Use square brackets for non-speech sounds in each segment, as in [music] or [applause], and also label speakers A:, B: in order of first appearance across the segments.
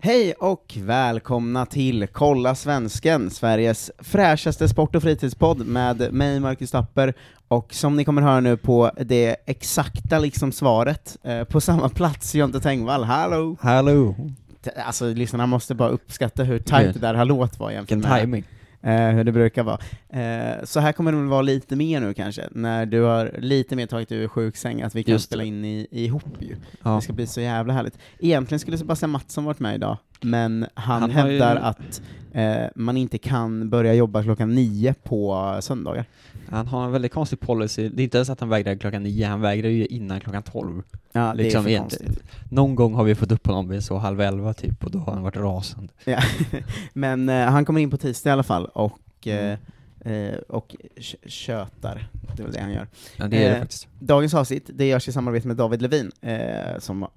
A: Hej och välkomna till Kolla Svensken, Sveriges fräschaste sport och fritidspodd med mig, Marcus Tapper, och som ni kommer höra nu på det exakta liksom svaret, eh, på samma plats, Jonte Tengvall, hallå!
B: Hallå!
A: T- Alltså lyssnarna måste bara uppskatta hur tajt det där hallåt var jämfört
B: Vilken
A: med
B: timing.
A: eh, hur det brukar vara. Eh, så här kommer det väl vara lite mer nu kanske, när du har lite mer tagit dig ur sjuksäng, att vi kan
B: Just
A: spela
B: det.
A: in i, ihop ju.
B: Ja.
A: Det ska bli så jävla härligt. Egentligen skulle Sebastian Mattsson varit med idag, men han,
B: Han har ju-
A: hävdar att eh, man inte kan börja jobba klockan nio på söndagar.
B: Han har en väldigt konstig policy. Det är inte ens att han vägrar klockan nio, han vägrar ju innan klockan tolv.
A: Ja, det
B: Liksom
A: är för
B: egentligen.
A: konstigt.
B: Någon gång har vi fått upp honom vid så halv elva typ, och då har han varit rasande.
A: Ja. [laughs] Men eh, han kommer in på tisdag i alla fall, och, eh,
B: Mm.
A: eh, och kö- kötar. Det är väl det han gör.
B: Ja, det är
A: Eh,
B: det faktiskt.
A: Dagens avsnitt, det görs i samarbete med David Levin, eh, som eh,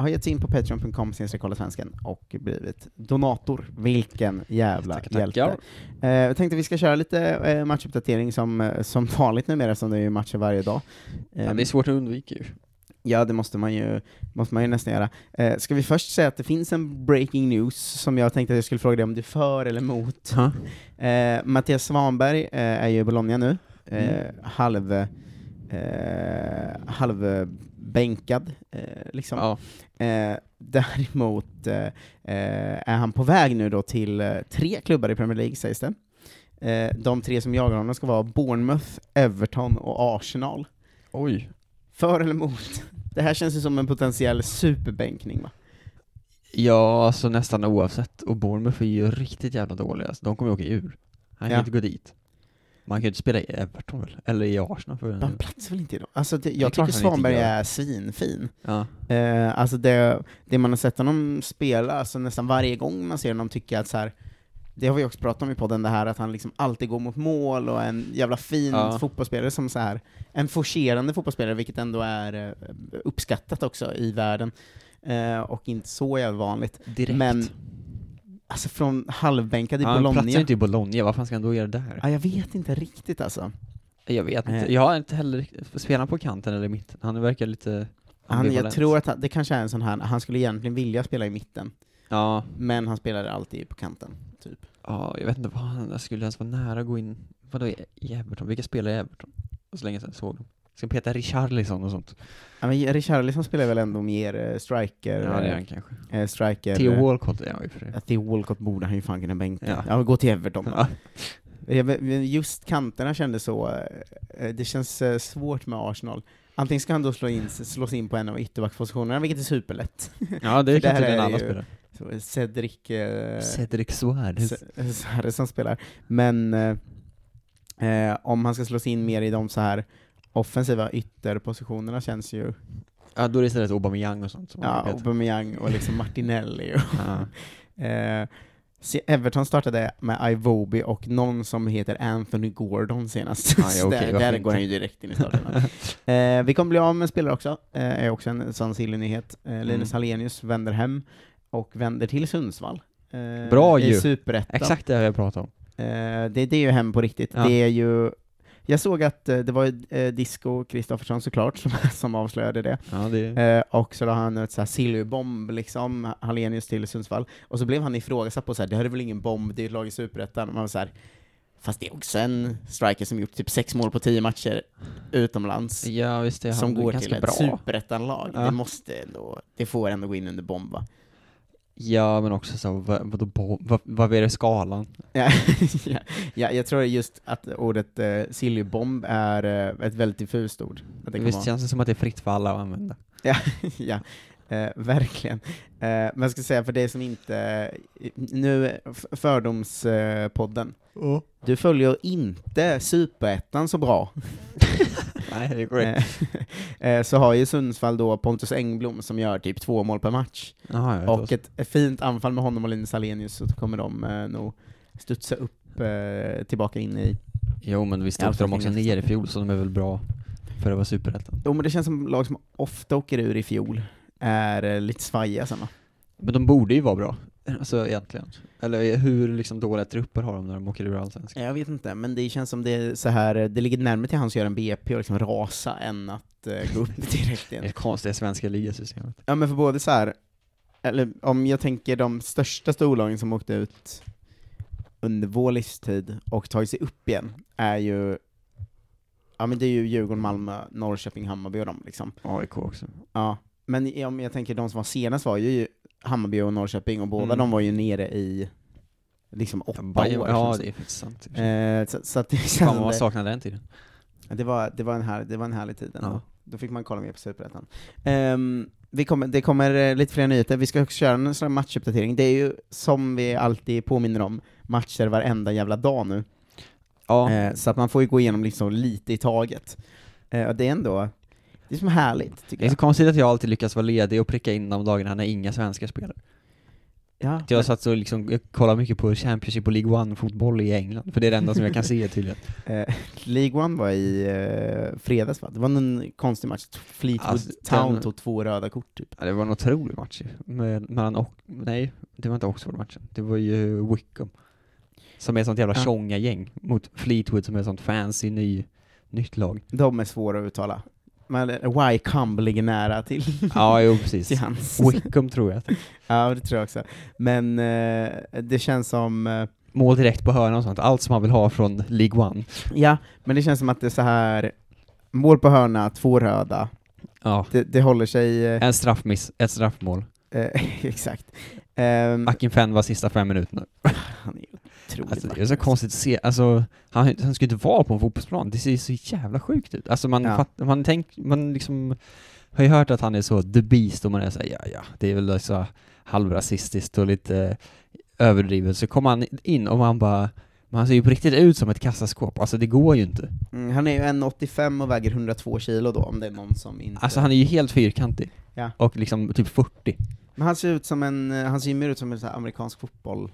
A: har gett sig in på patreon.com snedstreck Kolla svensken och blivit donator. Vilken jävla
B: Tackar, tackar.
A: hjälte. Eh, jag tänkte vi ska köra lite eh, matchuppdatering som, eh, som [laughs] vanligt numera, eftersom det är ju matcher varje dag. Eh,
B: Ja, det är svårt att undvika ju.
A: ja, det måste man ju, måste man ju nästan göra. Eh, ska vi först säga att det finns en breaking news som jag tänkte att jag skulle fråga dig om du är för eller emot? [laughs] Eh, Mattias Svanberg eh, är ju i Bologna nu, eh,
B: Mm.
A: halv, eh, halvbänkad eh, liksom.
B: Ja.
A: Eh, [laughs] däremot eh, eh, är han på väg nu då till eh, tre klubbar i Premier League sägs det. Eh, de tre som jagar honom ska vara Bournemouth, Everton och Arsenal.
B: Oj.
A: För eller emot? [laughs] Det här känns ju som en potentiell superbänkning va?
B: Ja, alltså nästan oavsett. Och Bournemouth är ju riktigt jävla dåliga, alltså, de kommer ju åka ur. Han kan
A: Ja.
B: ju inte gå dit. Man kan ju inte spela i Everton väl? Eller i Arsenal för den
A: De
B: delen.
A: platsar väl inte i dem? Alltså, det, jag
B: Mm. är klart
A: tycker
B: han inte
A: Svanberg
B: gör.
A: är svinfin.
B: Ja.
A: Eh, alltså det, det man har sett honom spela, alltså nästan varje gång man ser honom tycker jag att så här, det har vi också pratat om i podden, det här att han liksom alltid går mot mål och är en jävla fin
B: Ja.
A: fotbollsspelare som så här, en forcerande fotbollsspelare, vilket ändå är eh, uppskattat också i världen, eh, och inte så jävla vanligt.
B: Direkt.
A: Men alltså från halvbänkad i
B: Han platsar ju
A: Bologna,
B: inte i Bologna, vad fan ska han då göra där?
A: ja, jag vet inte riktigt alltså.
B: Jag vet
A: Eh.
B: inte. Jag har inte heller riktigt- spelar han på kanten eller i mitten. Han verkar lite
A: Han, jag
B: ambivalent.
A: tror att han, det kanske är en sån här, han skulle egentligen vilja spela i mitten,
B: Ja,
A: men han spelade alltid på kanten, typ.
B: ja, jag vet inte vad han jag skulle ens vara nära att gå in. Vadå i i Everton? Vilka spelar i Everton? Så länge sedan jag såg dem. Ska han peta Richarlison och sånt?
A: Ja, men Richarlison spelar väl ändå mer eh, striker...
B: Ja, det är han kanske.
A: eh, striker
B: Theo Walcott är han ju för sig.
A: Att Theo Walcott borde han ju fan kunna bänka. Ja,
B: Ja.
A: gå till Everton då.
B: Ja.
A: Eh, men Just kanterna kändes så, eh, det känns eh, svårt med Arsenal. Antingen ska han då slå in, slås in på en av ytterbackspositionerna, vilket är superlätt.
B: ja, det
A: För
B: kan
A: där
B: tydligen
A: är
B: alla
A: ju-
B: spelare.
A: Så Cedric eh,
B: Cedric Suarez.
A: Se- Suarez som spelar. Men eh, eh, om han ska slås in mer i de så här offensiva ytterpositionerna känns ju...
B: Ja, då är det istället Aubameyang och sånt som han
A: Ja,
B: har petat.
A: Aubameyang och liksom Martinelli och
B: ja.
A: Eh, se- Everton startade med Iwobi och någon som heter Anthony Gordon senast.
B: Ah, Ja, ja,
A: Så
B: okej,
A: där
B: varför
A: där
B: inte?
A: går han ju direkt in i
B: [laughs]
A: starten. eh, vi kommer bli av med spelare också, eh, är också en sån silly nyhet.
B: Mm.
A: Eh, Linus Hallenius vänder hem och vänder till Sundsvall. eh,
B: Bra
A: I
B: ju.
A: Superettan.
B: Exakt det har jag pratat om.
A: Eh, det, det är ju hem på riktigt.
B: Ja.
A: Det är ju... Jag såg att eh, det var ju, eh, Disco Kristoffersson såklart som, [laughs] som avslöjade det.
B: Ja, det är...
A: Eh, och så la han ut så här sillybomb liksom, Hallenius till Sundsvall. Och så blev han ifrågasatt på så här, det här är väl ingen bomb, det är ett lag i Superettan. Och Man var så här, fast det är också en striker som gjort typ sex mål på tio matcher utomlands.
B: Ja, visst det är han.
A: som
B: Det är
A: går
B: ganska
A: till ett
B: bra.
A: superettanlag.
B: Ja.
A: Det måste ändå, det får ändå gå in under bomb
B: [laughs]
A: va?
B: Ja, men också så, vad, vadå, bo- vad, vad är det skalan?
A: Ja, ja, ja, jag tror just att ordet eh, sillybomb är eh, ett väldigt diffust ord. Att det kan vara-
B: Visst känns det som att det är fritt för alla att använda?
A: [laughs] ja, eh, verkligen. Eh, men jag ska säga för dig som inte, nu f- Fördomspodden, du följer inte Superettan så bra.
B: Nej, det är korrekt.
A: Eh, eh, [laughs] så har ju Sundsvall då Pontus Engblom som gör typ två mål per match,
B: Jaha, ja,
A: och ett, ett fint anfall med honom och Linus Alenius så kommer de eh, nog studsa upp eh, tillbaka in i...
B: Jo, men visst
A: Ja,
B: åkte de
A: jag
B: också
A: tänkte-
B: ner i fjol, så de är väl bra för att vara superettan.
A: Jo men det känns som lag som ofta åker ur i fjol är eh, lite svajiga sen va?
B: Men de borde ju vara bra, alltså egentligen. Eller hur liksom dåliga trupper har de när de åker ur allsvenskan?
A: Jag vet inte, men det känns som det är så här, det ligger närmare till hans att göra en BP och liksom rasa än att eh, gå upp [laughs] direkt
B: Det
A: igen.
B: är det konstiga svenska ligasystemet.
A: Ja men för både så här, eh, eller om jag tänker de största storlagen som åkte ut under vår livstid och tagit sig upp igen, är ju Ja men det är ju Djurgården, Malmö, Norrköping, Hammarby och de liksom.
B: AIK också.
A: Ja. Men i- om jag tänker de som var senast var ju Hammarby och Norrköping, och båda
B: Mm.
A: de var ju nere i liksom åtta
B: Bajen-
A: år.
B: ja,
A: känns
B: det är faktiskt sant. i
A: det.
B: och för sig.
A: Eh, så, så att det
B: Fan vad man
A: kändes...
B: saknade den tiden.
A: Ja, Det var, det var, en, här, det var en härlig tid ändå.
B: Ja.
A: Då fick man kolla mer på Superettan. Ehm, vi kommer, det kommer eh, lite fler nyheter, vi ska också köra en sån här matchuppdatering. Det är ju, som vi alltid påminner om, matcher varenda jävla dag nu.
B: Ja,
A: Eh, så att man får ju gå igenom liksom lite i taget. Eh, och det är ändå, det är som härligt tycker
B: det är så
A: jag.
B: konstigt att jag alltid lyckas vara ledig och pricka in de dagarna när inga svenskar spelar.
A: Ja,
B: Att Jag satt och liksom, jag kollade mycket på Championship och League One-fotboll i England, för det är det enda som jag kan se tydligen.
A: eh, League One var i eh, fredags va? Det var en konstig match, Fleetwood
B: Alltså,
A: Town
B: den-
A: tog två röda kort typ.
B: Ja, det var en otrolig match ju. Med- Mellan och, nej, det var inte Oxford-matchen. Det var ju Wickham. Som är ett sånt jävla
A: Ja.
B: tjonga-gäng mot Fleetwood som är ett sånt fancy ny,
A: [laughs]
B: nytt lag.
A: De är svåra att uttala. Men eh, Wycombe ligger nära till,
B: Ja, jo [laughs] precis.
A: till hans.
B: Wickham tror jag. att-
A: Ja, det tror jag också. Men eh, det känns som, eh,
B: Mål direkt på hörnan och sånt. Allt som man vill ha från League One.
A: ja, men det känns som att det är så här mål på hörna, två röda.
B: Ja.
A: Det, det håller sig, eh,
B: En straffmiss, ett straffmål.
A: eh, [laughs] exakt. Ehm,
B: Akin Fenn var sista fem minuterna.
A: han är ju otroligt
B: Alltså, det
A: vacker,
B: är så
A: alltså.
B: konstigt att se, alltså, han, han skulle inte vara på en fotbollsplan, det ser ju så jävla sjukt ut. Alltså man,
A: Ja.
B: fatt, man, tänk, man liksom, har ju hört att han är så the beast och man är såhär, ja ja, det är väl så halvrasistiskt och lite eh, överdrivet. Så kommer han in och man bara, man ser ju på riktigt ut som ett kassaskåp, alltså det går ju inte.
A: Mm, han är ju 1,85 och väger 102 kilo då, om det är någon som inte...
B: Alltså han är ju helt fyrkantig.
A: Ja.
B: Och liksom typ 40.
A: Men han ser ut som en, eh, han ser ju mer ut som en så här amerikansk fotboll.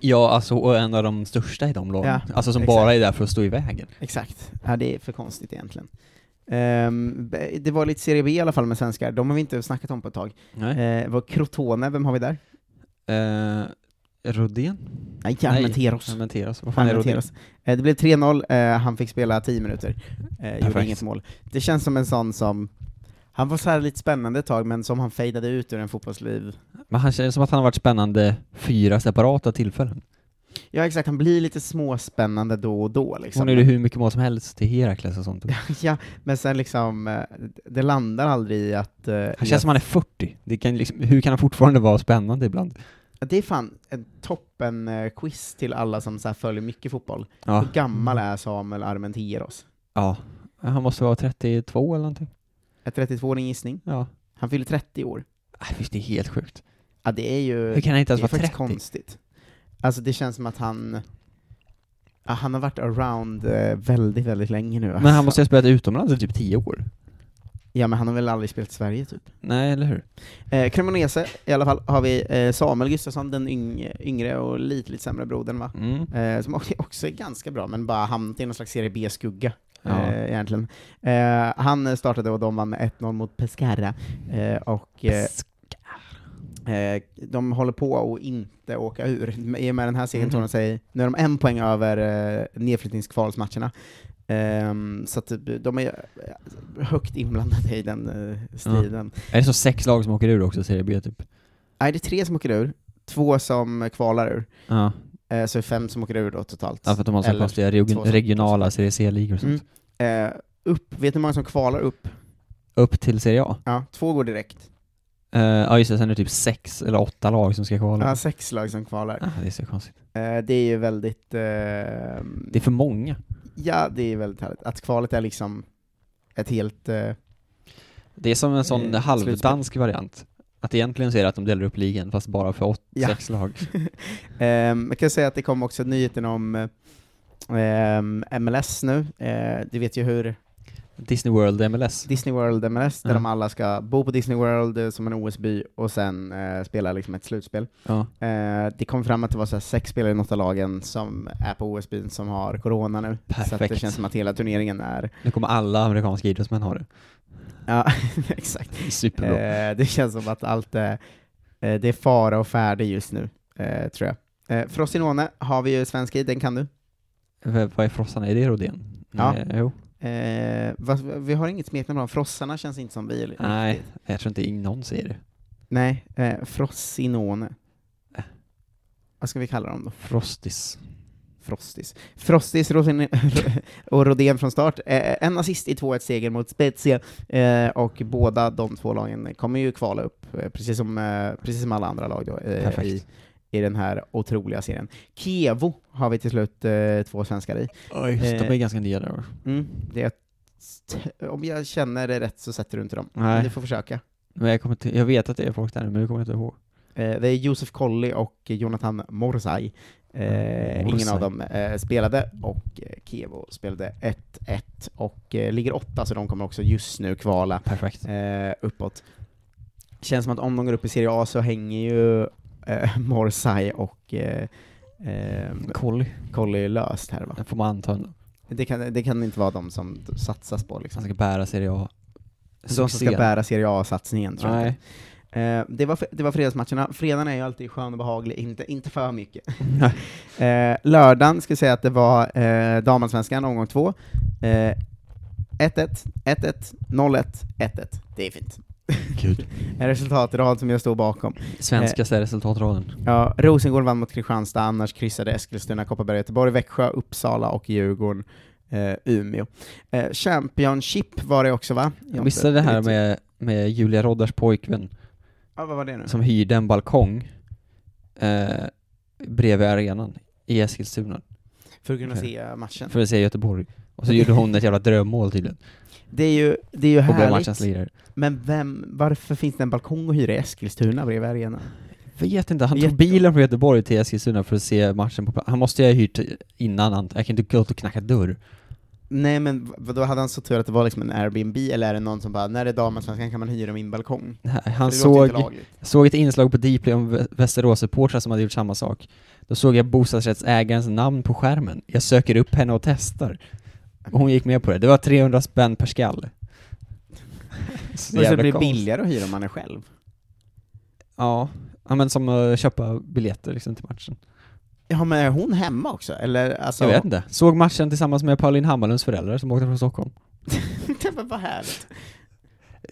B: Ja, alltså och en av de största i de lagen.
A: Ja,
B: alltså som
A: exakt.
B: bara är där för att stå i vägen.
A: Exakt. Ja, det är för konstigt egentligen. Ehm, b- det var lite Serie B i alla fall med svenskar, de har vi inte snackat om på ett tag.
B: Nej.
A: Uh, var Crotone, vem har vi där?
B: Eh, Rodén?
A: Nej,
B: Nej.
A: Armenteros.
B: Armenteros. Vad fan
A: Han
B: är
A: noteras. Eh, Det blev 3-0, eh, han fick spela 10 minuter, eh, gjorde
B: Perfekt.
A: inget mål. Det känns som en sån som, han var så här lite spännande ett tag, men som han fejdade ut ur en fotbollsliv.
B: Rodin? Men han känns som att han har varit spännande fyra separata tillfällen.
A: Ja exakt, han blir lite småspännande då och då
B: Hon
A: liksom.
B: gjorde hur mycket mål som helst till Herakles och sånt.
A: ja, men sen liksom, eh, det landar aldrig i att... eh, i
B: Han känns som han är 40. Det kan liksom, hur kan han fortfarande vara spännande ibland?
A: att det är fan en toppen eh, quiz till alla som så här följer mycket fotboll.
B: Ja.
A: Hur gammal är Samuel Armenteros?
B: ja. Han måste vara 32 eller någonting.
A: Är 32 din gissning?
B: Ja.
A: Han fyller 30 år.
B: Äh, Visst, det är helt sjukt.
A: Ja, det är ju...
B: Hur kan han inte ens
A: det är
B: vara
A: faktiskt
B: 30?
A: konstigt. Alltså det känns som att han, ja, han har varit around eh, väldigt, väldigt länge nu.
B: Men han måste ju ha spelat utomlands i typ 10 år.
A: Ja men han har väl aldrig spelat i Sverige typ.
B: Nej, eller hur?
A: Eh, Cremonese i alla fall har vi eh, Samuel Gustafsson, den yng, yngre och lite, lite sämre brodern va?
B: Mm.
A: Eh, som också- också är ganska bra, men bara hamnat i någon slags serie B-skugga
B: Ja.
A: eh, egentligen. Eh, han startade och de vann med 1-0 mot Pescara, eh, och eh, Eh, de håller på att inte åka ur. I och med den här segern
B: Mhm.
A: tror de sig, nu är de en poäng över eh, nedflyttningskvalsmatcherna. Ehm, så att typ, de är eh, högt inblandade i den eh, striden.
B: Är det så sex lag som åker ur också, Serie B typ?
A: Nej, det är tre som åker ur, två som kvalar ur.
B: Ja,
A: Eh, så är det fem som åker ur då totalt.
B: ja för att de har så
A: Eller
B: konstiga
A: två
B: reg-
A: som-
B: regionala Serie C-ligor och sånt.
A: Mm. Eh, upp, vet ni hur många som kvalar upp?
B: Upp till Serie A?
A: Ja, två går direkt.
B: Eh, Ja just det, sen är det typ sex eller åtta lag som ska kvala.
A: Ja, sex lag som kvalar.
B: Ah, det är så konstigt.
A: Eh, det är ju väldigt... eh,
B: Det är för många.
A: Ja, det är väldigt härligt. Att kvalet är liksom ett helt... eh, [laughs]
B: Det är som en sån
A: Eh,
B: halvdansk variant. Att egentligen så är det att de delar upp ligan, fast bara för åt,
A: Ja.
B: sex lag.
A: Ehm, jag kan säga att det kom också nyheten om eh, ehm, MLS nu. Eh, du vet ju hur
B: Disney World MLS.
A: Disney World MLS, där
B: Ja.
A: de alla ska bo på Disney World eh, som en OS-by och sen eh, spela liksom ett slutspel.
B: Ja.
A: Eh, det kom fram att det var så här sex spelare i något av lagen som är på OS-byn som har corona nu. Så att det
B: Perfekt.
A: känns som att hela turneringen är...
B: Nu kommer alla amerikanska idrottsmän ha det.
A: Ja, [laughs] exakt.
B: Det är Superbra.
A: Eh, det känns som att allt är, eh, det är fara och färde just nu, eh, tror jag. Eh, Frosinone har vi ju svensk i, den kan du.
B: V- Vad är frossan? Är det Rodén?
A: Ja.
B: Nej, jo.
A: Eh, vad- vi har inget smeknamn av Frossarna känns inte som vi.
B: Nej,
A: riktigt.
B: jag tror inte någon säger det.
A: Nej, eh, Frossinone.
B: Eh.
A: Vad ska vi kalla dem då?
B: Frostis.
A: Frostis. Frostis Rosin [laughs] och Rodén från start. Eh, en assist i 2-1-seger mot Spezia, eh, och båda de två lagen kommer ju kvala upp, eh, precis som, eh, precis som alla andra lag då, eh,
B: Perfekt.
A: i, i den här otroliga serien. Kevo har vi till slut eh, två svenskar i.
B: Oj, så de
A: Eh.
B: är ganska nya där va?
A: Mm, det är ett, om jag känner det rätt så sätter du inte dem.
B: Nej.
A: Du får försöka.
B: Men jag, kommer inte, jag vet att det är folk där nu, men det kommer jag inte ihåg.
A: Eh, det är Josef Colley och Jonathan Morzai. Eh, ingen
B: Morzai.
A: av dem eh, spelade, och eh, Kevo spelade 1-1 och eh, ligger åtta, så de kommer också just nu kvala
B: Perfekt.
A: eh, uppåt. Känns som att om de går upp i Serie A så hänger ju eh, [laughs] Morzai och eh, eh,
B: Colly,
A: Colley löst här va?
B: det får man anta ändå.
A: Det kan, det kan inte vara de som satsas på liksom.
B: Han ska bära Serie A.
A: Som ska
B: Succé.
A: bära Serie A-satsningen tror jag.
B: Nej.
A: Eh, det, var, det var fredagsmatcherna. Fredagen är ju alltid skön och behaglig, inte, inte för mycket.
B: [laughs] Nej.
A: Eh, lördagen ska jag säga att det var eh, damallsvenskan, omgång två. Eh, 1-1, 1-1, 0-1, 1-1. Det är fint. [laughs]
B: Gud.
A: En resultatrad som jag står bakom.
B: Svenskaste resultatraden.
A: Eh. Ja, Rosengård vann mot Kristianstad, annars kryssade Eskilstuna, Kopparberg, Göteborg, Växjö, Uppsala och Djurgården, eh, Umeå. Eh, Championship var det också va?
B: Jag missade det här
A: vet-
B: med, med Julia Roddars pojkvän.
A: Ja, vad var det nu?
B: som hyrde en balkong eh, bredvid arenan i Eskilstuna
A: För att kunna
B: Okej.
A: se matchen.
B: för att se Göteborg. Och så gjorde hon ett jävla drömmål tydligen
A: Det är ju, det är ju
B: och blev matchens
A: härligt.
B: lirare.
A: Men vem, varför finns det en balkong att hyra i Eskilstuna bredvid arenan?
B: Vet inte, han
A: Jätte-
B: tog bilen från Göteborg till Eskilstuna för att se matchen på plats. Han måste ju ha hyrt innan, han, jag kan inte gå ut och knacka dörr.
A: Nej men då hade han så tur att det var liksom en Airbnb, eller är det någon som bara ”när det är damallsvenskan kan man hyra min balkong”?
B: Nej,
A: För
B: Han
A: det låter inte
B: såg,
A: lagligt.
B: såg ett inslag på Dplay om Vä- Västerås-supportrar som hade gjort samma sak. Då såg jag bostadsrättsägarens namn på skärmen. Jag söker upp henne och testar. Och hon gick med på det. Det var 300 spänn per skalle.
A: Men så det
B: jävla
A: blir
B: konstigt.
A: billigare att hyra om man är själv?
B: Ja, ja men som att köpa biljetter liksom till matchen.
A: Ja men är hon hemma också? Eller alltså... [laughs]
B: Jag vet inte. Såg matchen tillsammans med Pauline Hammarlunds föräldrar som åkte från Stockholm.
A: inte. men vad härligt.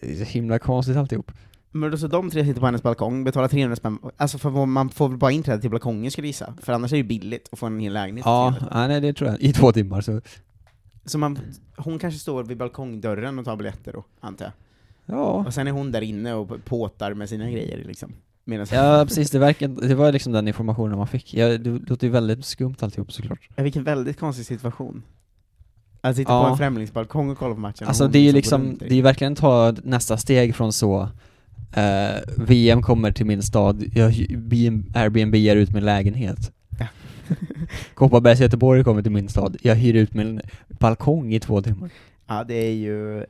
B: Det är så himla konstigt alltihop.
A: Men då så de tre sitter på hennes balkong, betalar 300 spänn, alltså för vad- man får väl bara inträde till balkongen skulle jag gissa, för annars är det ju billigt att få en hel lägenhet.
B: Ja,
A: till.
B: ja, nej det tror jag. I två timmar så.
A: Så man, hon kanske står vid balkongdörren och tar biljetter då, antar jag.
B: Ja.
A: Och sen är hon där inne och påtar med sina grejer liksom. Medan
B: Ja precis, det, verkar, det var liksom den informationen man fick. Ja, det låter ju väldigt skumt alltihop såklart.
A: Ja, vilken väldigt konstig situation. Att sitta
B: Ja.
A: på en främlingsbalkong och kolla på matchen. och
B: Alltså
A: hon
B: det är ju
A: går
B: liksom,
A: runt
B: det
A: där.
B: är ju verkligen ta nästa steg från så eh, VM kommer till min stad, jag hyr- Airbnb är ut min lägenhet.
A: Ja.
B: [laughs] Kopparbergs Göteborg kommer till min stad, jag hyr ut min balkong i två timmar.
A: Ja, det är ju...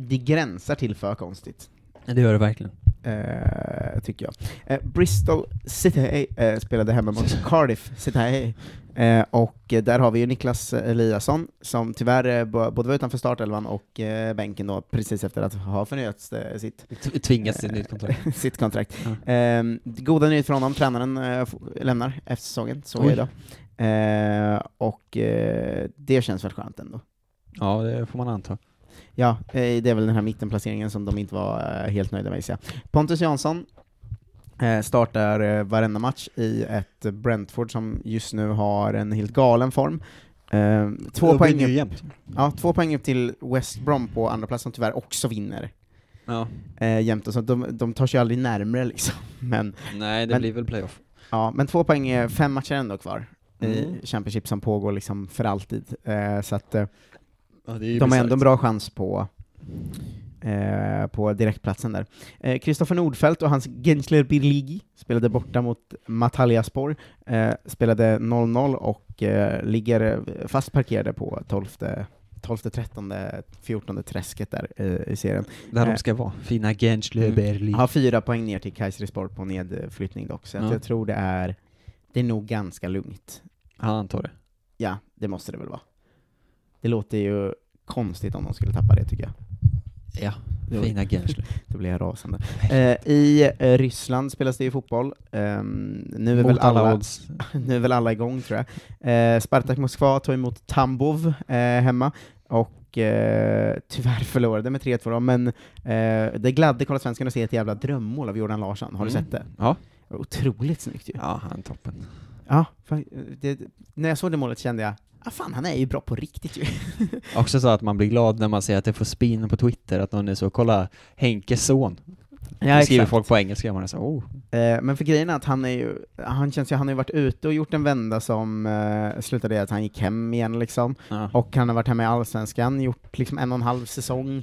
A: Det gränsar till för konstigt,
B: Det gör det verkligen.
A: eh, tycker jag. Eh, Bristol City eh, spelade hemma
B: [laughs]
A: mot Cardiff City. Eh, och eh, där har vi ju Niklas Eliasson, som tyvärr eh, bo- både var utanför startelvan och eh, bänken då, precis efter att ha förnyat eh, sitt [laughs]
B: T- Tvingas till ett nytt kontrakt.
A: sitt kontrakt. Ehm, goda nyheter från honom, tränaren eh, f- lämnar efter säsongen, såg jag
B: Oj.
A: idag. Eh, och eh, det känns väl skönt ändå.
B: Ja, det får man anta.
A: Ja, eh, det är väl den här mittenplaceringen som de inte var eh, helt nöjda med, gissar jag. Pontus Jansson eh, startar eh, varenda match i ett Brentford som just nu har en helt galen form. Eh, två, poäng upp,
B: jämnt.
A: ja, två poäng upp till West Brom på andra plats som tyvärr också vinner
B: Ja.
A: eh, jämt och så. De, de tar sig aldrig närmre liksom, men
B: Nej, det
A: Men-
B: blir väl playoff.
A: Ja, men två poäng, är fem matcher ändå kvar i
B: Mm.
A: Championship som pågår liksom för alltid. Eh, så att eh,
B: Ja, det är ju
A: de har
B: bisarrt.
A: ändå en bra chans på, eh, på direktplatsen där. Eh, Kristoffer Nordfeldt och hans Gensler Birligi spelade borta mot Mataljaspor, eh, spelade 0-0 och eh, ligger fast parkerade på 12 12, 13, 14 träsket där eh, i serien.
B: Där
A: Eh.
B: de ska vara. Fina Genslö
A: Mm.
B: Berlin.
A: Har fyra poäng ner till Kayserispor på nedflyttning dock, så att
B: Ja.
A: jag tror det är, det är nog ganska lugnt.
B: Han antar det.
A: Ja, det måste det väl vara. Det låter ju konstigt om de skulle tappa det tycker jag.
B: Ja,
A: Jo.
B: fina Genslö.
A: Då blir jag rasande. Eh, I eh, Ryssland spelas det ju fotboll. Ehm, nu, är väl
B: Mot
A: [laughs]
B: alla
A: alla,
B: odds.
A: nu är väl alla igång tror jag. Eh, Spartak Moskva tar emot Tambov eh, hemma. och eh, tyvärr förlorade med 3-2 då, men eh, det gladde Karlsvenskan att se ett jävla drömmål av Jordan Larsson. Har du
B: Mm.
A: sett det?
B: Ja.
A: Otroligt snyggt ju.
B: Ja, han är toppen.
A: Ja, fan, det, när jag såg det målet kände jag, ah, fan han är ju bra på riktigt ju.
B: Också så att man blir glad när man ser att det får spin på Twitter, att någon är så, kolla Henkes son. Då skriver folk på engelska, och man är så, oh.
A: Eh, men för grejen är att han är ju, han känns ju, han har ju varit ute och gjort en vända som eh, slutade i att han gick hem igen liksom.
B: Ja.
A: Och han har varit hemma i Allsvenskan, gjort liksom en och en halv säsong. Eh,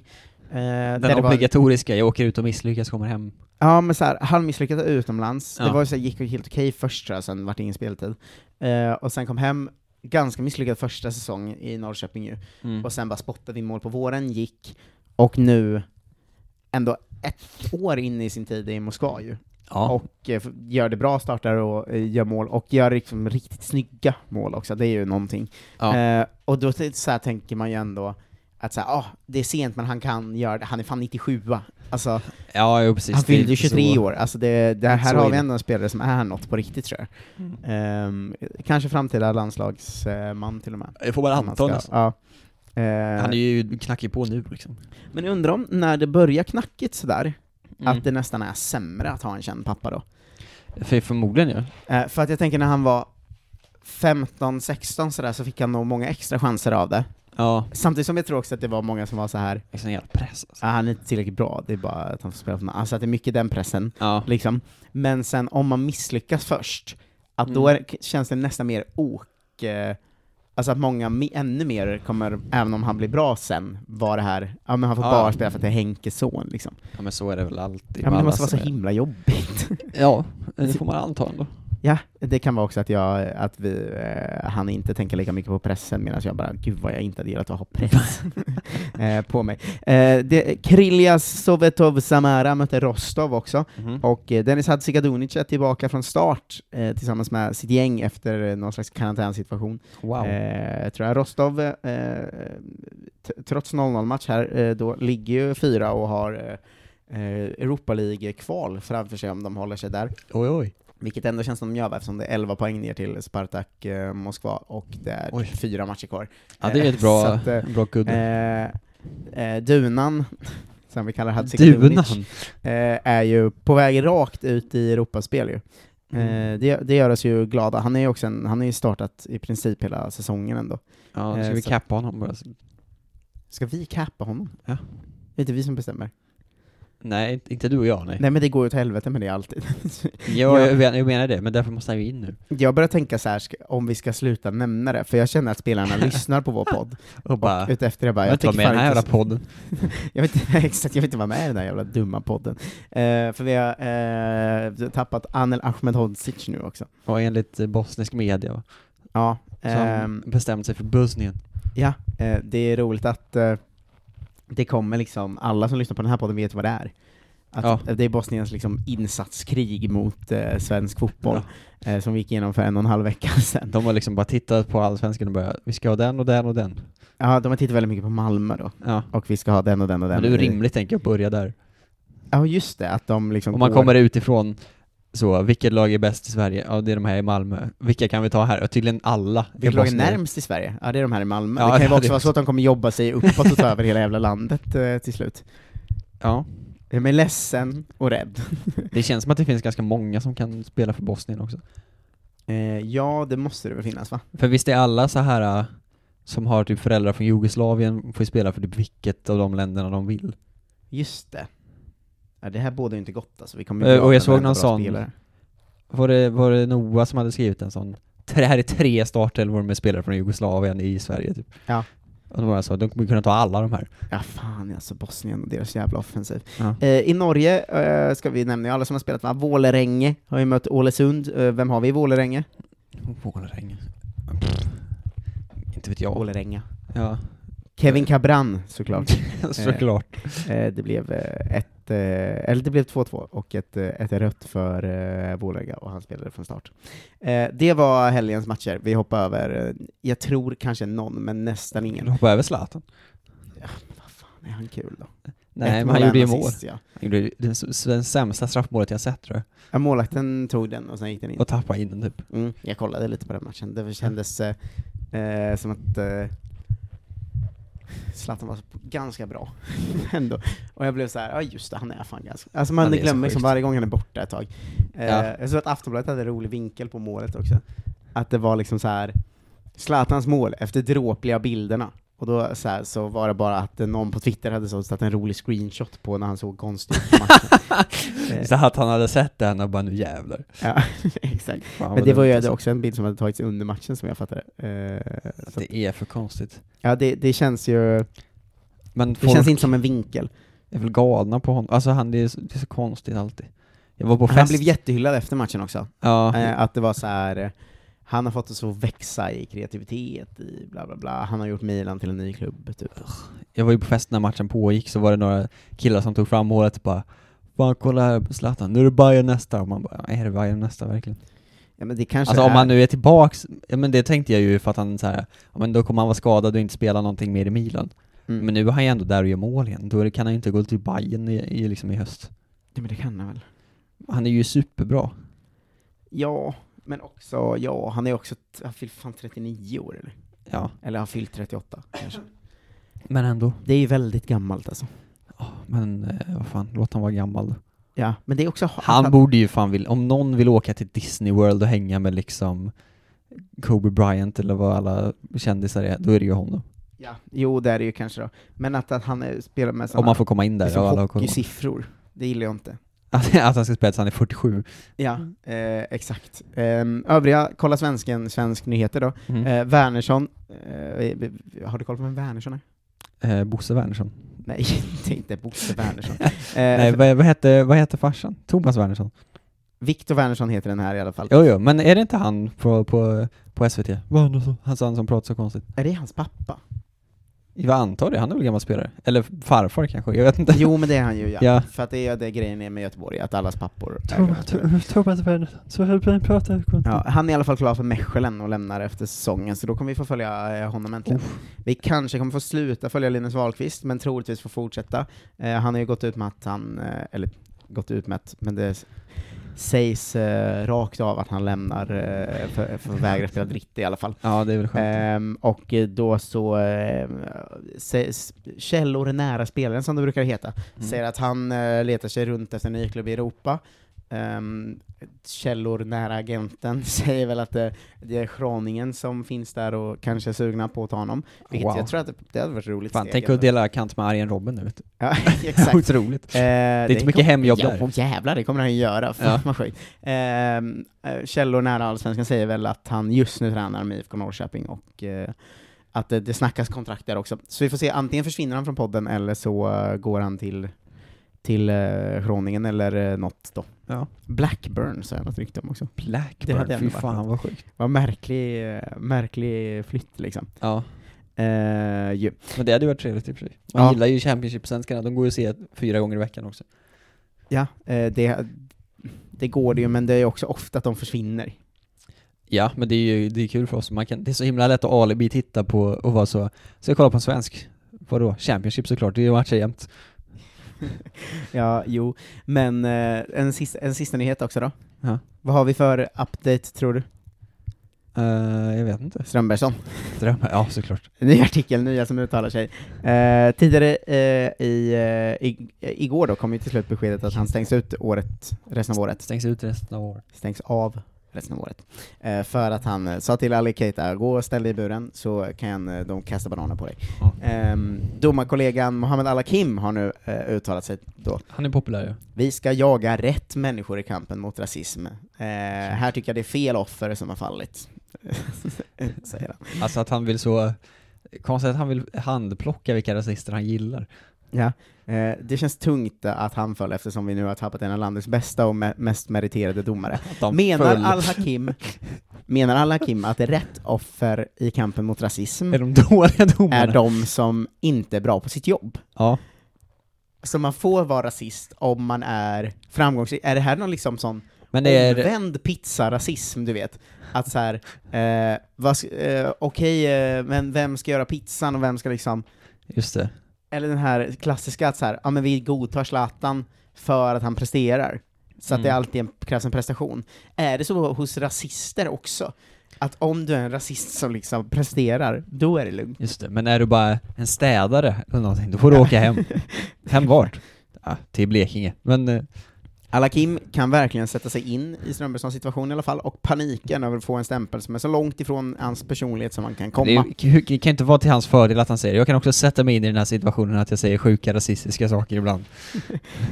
A: där det
B: Den
A: var-
B: obligatoriska, jag åker ut och misslyckas, kommer hem.
A: Ja, men såhär, halvmisslyckat utomlands. Det
B: Ja.
A: var ju så här, gick ju helt okej först tror jag, sen vart det ingen speltid. Eh, och sen kom hem, ganska misslyckad första säsong i Norrköping ju.
B: Mm.
A: Och sen bara spottade in mål på våren, gick, och nu ändå ett år in i sin tid i Moskva ju.
B: Ja.
A: Och eh, f- gör det bra, startar och eh, gör mål, och gör liksom riktigt snygga mål också, det är ju någonting.
B: Ja.
A: Eh, och då t- så här, tänker man ju ändå att så här, ah, det är sent men han kan göra det, han är fan 97 Alltså,
B: ja, jo precis.
A: han
B: Det är
A: fyllde ju
B: inte så-
A: 23 år, alltså det, det här,
B: Inte så
A: har
B: är
A: vi
B: det.
A: ändå en spelare som är något på riktigt tror jag.
B: Mm.
A: Ehm, kanske framtida landslagsman till och med.
B: Jag får bara
A: Om man
B: anta
A: ska-
B: nästan.
A: ja. Eh,
B: Han är ju knackig på nu liksom.
A: Men undrar om, när det börjar knackigt sådär,
B: Mm.
A: att det nästan är sämre att ha en känd pappa då?
B: För förmodligen ja.
A: Eh, för att jag tänker när han var 15-16 sådär så fick han nog många extra chanser av det.
B: Ja,
A: Samtidigt som jag tror också att det var många som var så här
B: det är sån jävla press alltså.
A: ah, han är inte tillräckligt bra, det är bara att han får spela för mig. Alltså att det är mycket den pressen.
B: Ja.
A: liksom. Men sen om man misslyckas först, att då
B: Mm.
A: är, känns det nästan mer ok, eh, alltså att många mi- ännu mer kommer, även om han blir bra sen, vara det här, ja men han får
B: Ja.
A: bara spela för att det är Henkes son liksom.
B: ja, men så är det väl alltid.
A: Ja men
B: med
A: det
B: alla
A: måste vara så
B: som är-
A: himla jobbigt.
B: Ja, det får man anta ändå.
A: ja, det kan vara också att jag, att vi, eh, han inte tänker lika mycket på pressen medan jag bara, gud vad jag inte hade gillat att ha press eh, på mig. Eh, det, Krilja Sovetov Samara mötte Rostov också. Och eh, Dennis Hadzikadunic är tillbaka från start eh, tillsammans med sitt gäng efter eh, någon slags karantänsituation.
B: Wow.
A: Eh, tror jag Rostov, eh, t- trots 0-0-match här, eh, då ligger ju fyra och har eh, eh, Europa League-kval framför sig om de håller sig där.
B: Oj oj.
A: Vilket ändå känns som de gör va, eftersom det är 11 poäng ner till Spartak eh, Moskva och det är
B: Oj.
A: fyra matcher kvar.
B: Ja det är
A: Eh,
B: ett bra,
A: så att, eh,
B: en bra kudde.
A: Eh, eh, Dunan, [laughs] som vi kallar
B: Dunan!
A: Hadzikadunic, eh, är ju på väg rakt ut i Europaspel ju.
B: Mm.
A: Eh, det, det gör oss ju glada. Han är ju också en, han har ju startat i princip hela säsongen ändå.
B: Ja, ska
A: eh,
B: vi
A: så-
B: cappa honom bara?
A: Ska vi cappa honom?
B: Ja.
A: Det är inte vi som bestämmer.
B: Nej, inte du och jag nej.
A: Nej men det går ju åt helvete med det alltid. [laughs]
B: Jag,
A: Ja.
B: jag, menar, jag menar det, men därför måste han ju in nu.
A: Jag börjar tänka så här ska- om vi ska sluta nämna det, för jag känner att
B: [laughs]
A: spelarna lyssnar på vår podd.
B: Och bara, jag
A: Utefter det bara,
B: vill
A: jag,
B: inte vara
A: tänker
B: med i den
A: fan
B: här
A: inte
B: jävla podden.
A: [laughs] Jag vet inte, [laughs] exakt, jag vill inte vara med i den här jävla dumma podden. Eh, för vi har eh, tappat Anel Ahmedhodzic nu också.
B: Och enligt eh, bosnisk media va?
A: Ja,
B: Som
A: ehm,
B: bestämt sig för Bosnien.
A: ja eh, det är roligt att eh, det kommer liksom, alla som lyssnar på den här podden vet vad det är. Att Det är Bosniens liksom insatskrig mot eh, svensk fotboll, eh, som vi gick igenom för en och en halv vecka [laughs] sedan.
B: De har liksom bara tittat på allsvenskan och börjat, vi ska ha den och den och den.
A: Ja, de har tittat väldigt mycket på Malmö då,
B: Ja.
A: och vi ska ha den och den och den.
B: Men det är ju rimligt tänker jag att börja där.
A: Ja, just det, att de liksom
B: Om man
A: går-
B: kommer utifrån så, vilket lag är bäst i Sverige? Ja, det är de här i Malmö. Vilka kan vi ta här? Ja, tydligen alla. är
A: Vilket lag är
B: bosnier.
A: närmst i Sverige? Ja, det är de här i Malmö.
B: Ja,
A: det kan ju
B: ja,
A: också
B: det-
A: vara så att de kommer jobba sig uppåt och ta över hela jävla landet eh, till slut.
B: Ja.
A: Jag är ledsen och rädd.
B: Det känns som att det finns ganska många som kan spela för Bosnien också.
A: Eh, ja, det måste det väl finnas va?
B: För visst är alla så här äh, som har typ föräldrar från Jugoslavien får ju spela för typ vilket av de länderna de vill.
A: Just det. Ja, det här bådar ju inte gott alltså. Vi kommer
B: Eh,
A: bli av
B: och jag
A: med
B: såg
A: varenda
B: någon
A: bra
B: sån.
A: spelare.
B: Var det, var det Noah som hade skrivit en sån? Det här är tre startelvor med spelare från Jugoslavien i Sverige typ.
A: Ja.
B: Och då var jag så, de kommer kunna ta alla de här.
A: Ja, fan alltså Bosnien och deras jävla offensiv.
B: Ja.
A: Eh, I Norge eh, ska vi nämna alla som har spelat va? Vålerenge har ju mött Ålesund. Eh, vem har vi i Vålerenge?
B: Vålerengen. Pff. Inte vet jag.
A: Vålerenga.
B: Ja.
A: Kevin Cabran såklart.
B: [laughs] Såklart.
A: Eh, det blev eh, ett, eh, eller det blev 2-2 och ett, eh, ett rött för eh, Vålerenga och han spelade från start. Eh, det var helgens matcher. Vi hoppar över, eh, jag tror kanske någon, men nästan
B: Kan
A: ingen.
B: du hoppa över Zlatan?
A: Vad fan är han kul då?
B: Nej,
A: Ett
B: men han
A: och
B: gjorde ju
A: en
B: mål.
A: assist, Ja.
B: Han gjorde ju den, s- den sämsta straffmålet jag sett tror jag.
A: Ja, målvakten tog den och sen gick den in.
B: Och tappade in den typ.
A: Mm, jag kollade lite på den matchen, det kändes eh, eh, som att eh, Zlatan var så- ganska bra [laughs] ändå. Och jag blev så här, ja just det, han är fan ganska... Alltså man
B: Han är så
A: glömmer liksom
B: sjukt.
A: varje gång han är borta ett tag. Eh,
B: Ja.
A: Jag såg att Aftonbladet hade en rolig vinkel på målet också. Att det var liksom så här Zlatans mål efter dråpliga bilderna. Och då så, här, så var det bara att någon på Twitter hade så satt en rolig screenshot på när han såg konstig ut på
B: [laughs]
A: matchen. Eh,
B: Så att han hade sett den och bara nu jävlar.
A: ja, [laughs] exakt.
B: Fan, vad
A: Men det var
B: dumt
A: ju
B: alltså.
A: också en bild som hade tagits under matchen som jag fattade. Eh, så, att-
B: Det är för konstigt.
A: ja, det, det känns ju...
B: Men
A: Det
B: folk
A: känns inte som en vinkel.
B: är väl galna på honom. Alltså han, det är, så, det är så konstigt alltid. Jag var på fest.
A: Han blev jättehyllad efter matchen också.
B: Ja,
A: Eh, att det var så här. eh, han har fått oss att växa i kreativitet, i bla bla bla. Han har gjort Milan till en ny klubb, typ.
B: jag var ju på fest när matchen pågick så var det några killar som tog fram målet och bara Fan kolla här på Zlatan, nu är det Bayern nästa. Och man bara, är det Bayern nästa verkligen?
A: Ja, men det kanske
B: Alltså om
A: är...
B: han nu är tillbaks, ja men det tänkte jag ju för att han så här, ja, men då kommer han vara skadad och inte spela någonting mer i Milan.
A: Mm.
B: Men nu är han ju ändå där och gör mål igen, då är det- kan han ju inte gå till Bayern i, i, liksom i höst.
A: Ja, men det kan han väl?
B: Han är ju superbra.
A: Ja, men också, ja, han är också, t- han fyllt fan 39 år eller?
B: Ja,
A: Eller han fyllt 38 kanske.
B: men ändå.
A: Det är ju väldigt gammalt alltså.
B: Ja, men eh, vad fan, låt han vara gammal då.
A: Ja, men det är också...
B: Han borde ju fan vilja, om någon vill åka till Disney World och hänga med liksom Kobe Bryant eller vad alla kändisar är, då är det ju honom.
A: Ja, jo, det är det ju kanske då. Men att, att han är, spelar med
B: Om
A: sådana...
B: man får komma in där och alla har
A: liksom
B: koll.
A: hockeysiffror, det gillar jag inte.
B: [laughs] Att, att han ska spela tills han är 47.
A: Ja, eh, exakt. Ehm, övriga, kolla svensken, svensk nyheter då.
B: Mm.
A: Eh, Wernersson, eh, har du koll på vem Wernersson är?
B: Eh, Bosse Wernersson.
A: Nej, [laughs] det är inte Bosse
B: [laughs]
A: Wernersson.
B: Nej,
A: Eh,
B: vad, vad, hette, vad hette farsan? Thomas Wernersson?
A: Viktor Wernersson heter den här i alla fall.
B: Jo, jo, men är det inte han på, på, på SVT? Wernersson. Han, han som pratar så konstigt.
A: Är det hans
B: [laughs]
A: pappa?
B: Jag antar det, han är väl gammal spelare? Eller farfar kanske, jag vet inte.
A: Jo, men det är han ju ja.
B: Ja.
A: För att det är det grejen är med Göteborg, att allas pappor är göteborgare.
B: Thomas Wernersson, så höll på att prata.
A: Ja, han är i alla fall klar för Mechelen och lämnar efter säsongen, så då kommer vi få följa eh, honom äntligen. Vi kanske kommer få sluta följa Linus Wahlqvist, men troligtvis få fortsätta. Eh, han har ju gått ut med att han, eh, eller gått ut med att, men det s- sägs eh, rakt av att han lämnar eh, för, för att vägra spela dritt i alla fall.
B: [laughs] Ja, det är väl skönt.
A: Ehm, och eh, då så, eh, sägs- källor nära spelaren som det brukar heta,
B: Mm.
A: säger att han eh, letar sig runt efter en ny klubb i Europa. Ehm, källor nära agenten [laughs] säger väl att det, det är Schroningen som finns där och kanske är sugna på att ta honom. Vilket
B: Wow.
A: jag tror att det, det hade varit ett roligt
B: Fan,
A: steg
B: tänk
A: ändå.
B: att dela kant med argen Robben nu vet du.
A: Ja, [laughs] exakt.
B: [laughs] Otroligt.
A: Eh, det är
B: inte mycket hemjobb
A: ja,
B: där.
A: åh, jävlar, det kommer han ju göra. Fan
B: Ja.
A: vad sjukt. Ehm, Eh, källor nära Allsvenskan säger väl att han just nu tränar med IFK Norrköping och eh, att det, det snackas kontrakt där också. Så vi får se, antingen försvinner han från podden eller så eh, går han till, till eh, Groningen eller uh, något då.
B: Ja.
A: Blackburn sa jag något rykte om också. Det hade
B: Blackburn,
A: ändå
B: fy
A: varit
B: fan
A: något.
B: vad sjukt.
A: Vad märklig, eh, märklig flytt liksom.
B: Ja,
A: Eh, ju.
B: men det hade ju varit trevligt i och för sig. Man
A: Ja.
B: gillar ju Championship-svenskarna, de går ju att se fyra gånger i veckan också.
A: Ja, eh, det, det går det ju, men det är också ofta att de försvinner.
B: Ja, men det är ju det är kul för oss. Man kan, det är så himla lätt att alibi-titta på och vara så, ska jag kolla på en svensk? Vadå? Championship såklart, det är ju matcher jämt.
A: Ja, jo. Men eh, en, sista, en sista nyhet också då.
B: Ja.
A: Vad har vi för update, tror du?
B: Eh, jag vet inte.
A: Strömbergsson.
B: Drömmar? Ja, såklart.
A: Ny artikel, nya som uttalar sig. Eh, tidigare eh, i, eh, i, igår då kom ju till slut beskedet att han stängs ut året, resten av året.
B: Stängs ut resten av året.
A: Stängs av resten av året. Eh, för att han eh, sa till Ali Keita, gå och ställ dig i buren så kan eh, de kasta bananer på dig.
B: Ja.
A: Ehm, domarkollegan Mohammed Al-Hakim har nu eh, uttalat sig då.
B: Han är populär ju.
A: Vi ska jaga rätt människor i kampen mot rasism. Eh, här tycker jag det är fel offer som har fallit. [laughs] Säger han.
B: Alltså att han vill så, konstigt att han vill handplocka vilka rasister han gillar.
A: Ja. Eh, det känns tungt att han föll eftersom vi nu har tappat en av landets bästa och me- mest meriterade domare.
B: Att de
A: Menar
B: föll.
A: Al-Hakim
B: [laughs]
A: menar Al Hakim att rätt offer i kampen mot rasism
B: Är de dåliga domarna?
A: är de som inte är bra på sitt jobb?
B: Ja.
A: Så man får vara rasist om man är framgångsrik. Är det här någon liksom sån
B: Men det är...
A: omvänd pizzarasism, du vet. Att så här, eh, vad sk- eh, okej, eh, men vem ska göra pizzan och vem ska liksom...
B: Just det.
A: Eller den här klassiska att så här, ja men vi godtar Zlatan för att han presterar. Så att det
B: Mm.
A: alltid en- krävs en prestation. Är det så hos rasister också? att om du är en rasist som liksom presterar, då är det lugnt.
B: Just det, men är du bara en städare eller någonting, då får du
A: [laughs]
B: åka hem. hem vart? Ja, till Blekinge. Men eh,
A: Alakim kan verkligen sätta sig in i Strömbergssons situation i alla fall, och paniken över att få en stämpel som är så långt ifrån hans personlighet som man kan komma.
B: det, är ju- det kan ju inte vara till hans fördel att han säger det. Jag kan också sätta mig in i den här situationen att jag säger sjuka rasistiska saker ibland.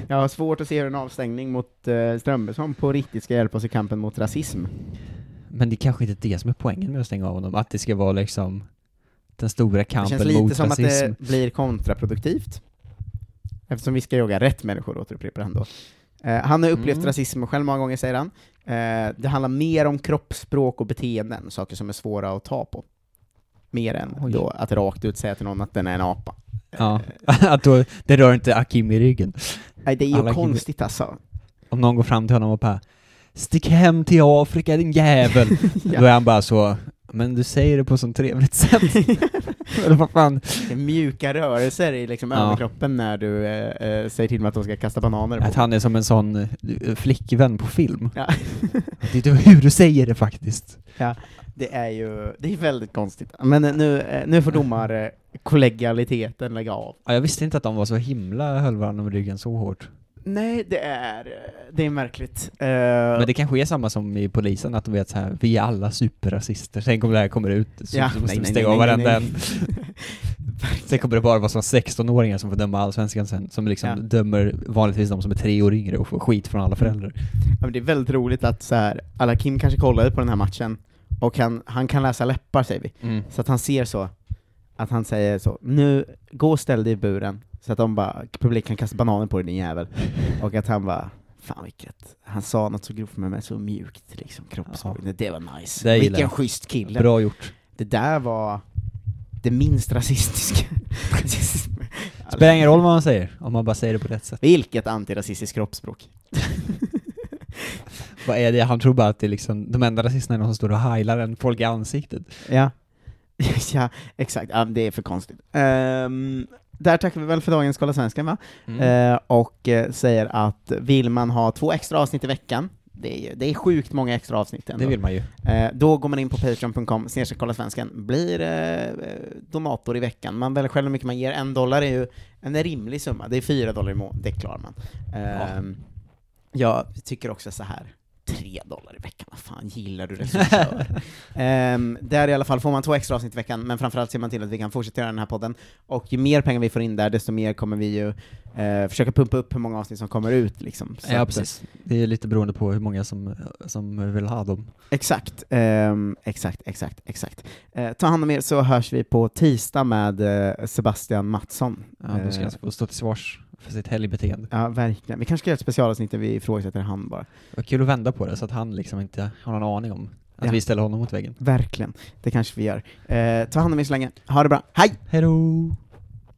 A: Jag har svårt att se hur en avstängning mot eh, Strömbergsson på riktigt ska hjälpa oss i kampen mot rasism.
B: Men det kanske inte är det som är poängen med att stänga av honom, att det ska vara liksom den stora
A: Det
B: kampen
A: känns lite
B: mot
A: som
B: rasism.
A: att det blir kontraproduktivt. Eftersom vi ska jaga rätt människor, återupprepar han då. Eh, han har upplevt
B: Mm.
A: rasism själv många gånger, säger han. Eh, det handlar mer om kroppsspråk och beteenden, saker som är svåra att ta på. Mer än
B: Oj.
A: då att rakt ut säga till någon att den är en apa.
B: Ja, [laughs] att då, det rör inte Akim i ryggen.
A: Nej, det är ju
B: Alla-
A: konstigt alltså.
B: Om någon går fram till honom och bara ”Stick hem till Afrika din jävel!” Då
A: [laughs] ja.
B: är han bara så ”Men du säger det på sånt trevligt sätt”.
A: [laughs]
B: Eller vad fan?
A: Det är mjuka rörelser i liksom
B: Ja.
A: överkroppen när du eh, eh, säger till dem att de ska kasta bananer på.
B: Att han är som en sån eh, flickvän på film.
A: Ja.
B: [laughs] Det är inte hur du säger det faktiskt.
A: Det är ju det är väldigt konstigt. Men eh, nu, eh, nu får domarkollegaliteten lägga av.
B: Ja, jag visste inte att de var så himla höll varandra om ryggen så hårt.
A: Nej, det är, eh, det är märkligt. Eh,
B: Men det kanske är samma som i polisen, att de vet så här, vi är alla superrasister. Tänk om det här kommer ut, så
A: Ja,
B: så
A: nej,
B: måste vi
A: nej,
B: stänga
A: nej,
B: av
A: nej,
B: varenda en.
A: nej.
B: Sen kommer det bara vara såna 16-åringar som får döma allsvenskan sen, som liksom
A: Ja.
B: dömer vanligtvis de som är tre år yngre och får skit från alla föräldrar.
A: [laughs] ja, men det är väldigt roligt att så här, alla Kim kanske kollade på den här matchen, och han, han kan läsa läppar säger vi,
B: Mm.
A: så att han ser så, att han säger så, nu, gå och ställ dig i buren, så att de bara, publiken kan kasta bananer på dig din jävel. Och att han bara, fan vilket, han sa något så grovt men med så mjukt liksom, kroppsspråk. Det var nice.
B: Det gillar
A: Vilken
B: jag.
A: schysst kille.
B: Bra gjort.
A: Det där var det minst rasistiska.
B: [laughs] Spelar ingen roll vad man säger, om man bara säger det på rätt sätt.
A: Vilket antirasistiskt kroppsspråk.
B: Vad är det? Han tror bara att det är liksom, de enda rasisterna är de som står och heilar en folk i ansiktet.
A: Ja. [laughs] ja, exakt. Ja, det är för konstigt. Ehm, där tackar vi väl för dagens Kolla Svenskan, va?
B: Mm.
A: Eh, och eh, säger att vill man ha två extra avsnitt i veckan, det är, ju, det är sjukt många extra avsnitt ändå.
B: det vill man ju.
A: Eh, då går man in på patreon.com, snedstreck kolla svensken, blir eh, eh, donator i veckan. Man väljer själv hur mycket man ger. En dollar är ju en rimlig summa. Det är fyra dollar i månaden, det klarar man. Ehm, Jag tycker också så här. Tre dollar i veckan, vad fan gillar du [laughs]
B: [laughs]
A: regissör? um, där i alla fall får man två extra avsnitt i veckan, men framförallt ser man till att vi kan fortsätta göra den här podden. Och ju mer pengar vi får in där, desto mer kommer vi ju eh, försöka pumpa upp hur många avsnitt som kommer ut. Liksom. Så
B: Ja,
A: att-
B: precis. Det är lite beroende på hur många som, som vill ha dem.
A: Exakt, ehm, exakt, exakt, exakt. Eh, ta hand om er så hörs vi på tisdag med eh, Sebastian Mattsson.
B: Ja, då ska
A: Eh,
B: han få stå till svars för sitt helgbeteende.
A: ja, verkligen. Vi kanske ska göra ett specialavsnitt där vi ifrågasätter han bara.
B: Vad kul att vända på det så att han liksom inte har någon aning om att
A: Ja.
B: vi ställer honom mot väggen.
A: Verkligen, det kanske vi gör. Eh, ta hand om er så länge. Ha det bra, hej!
B: Hej då!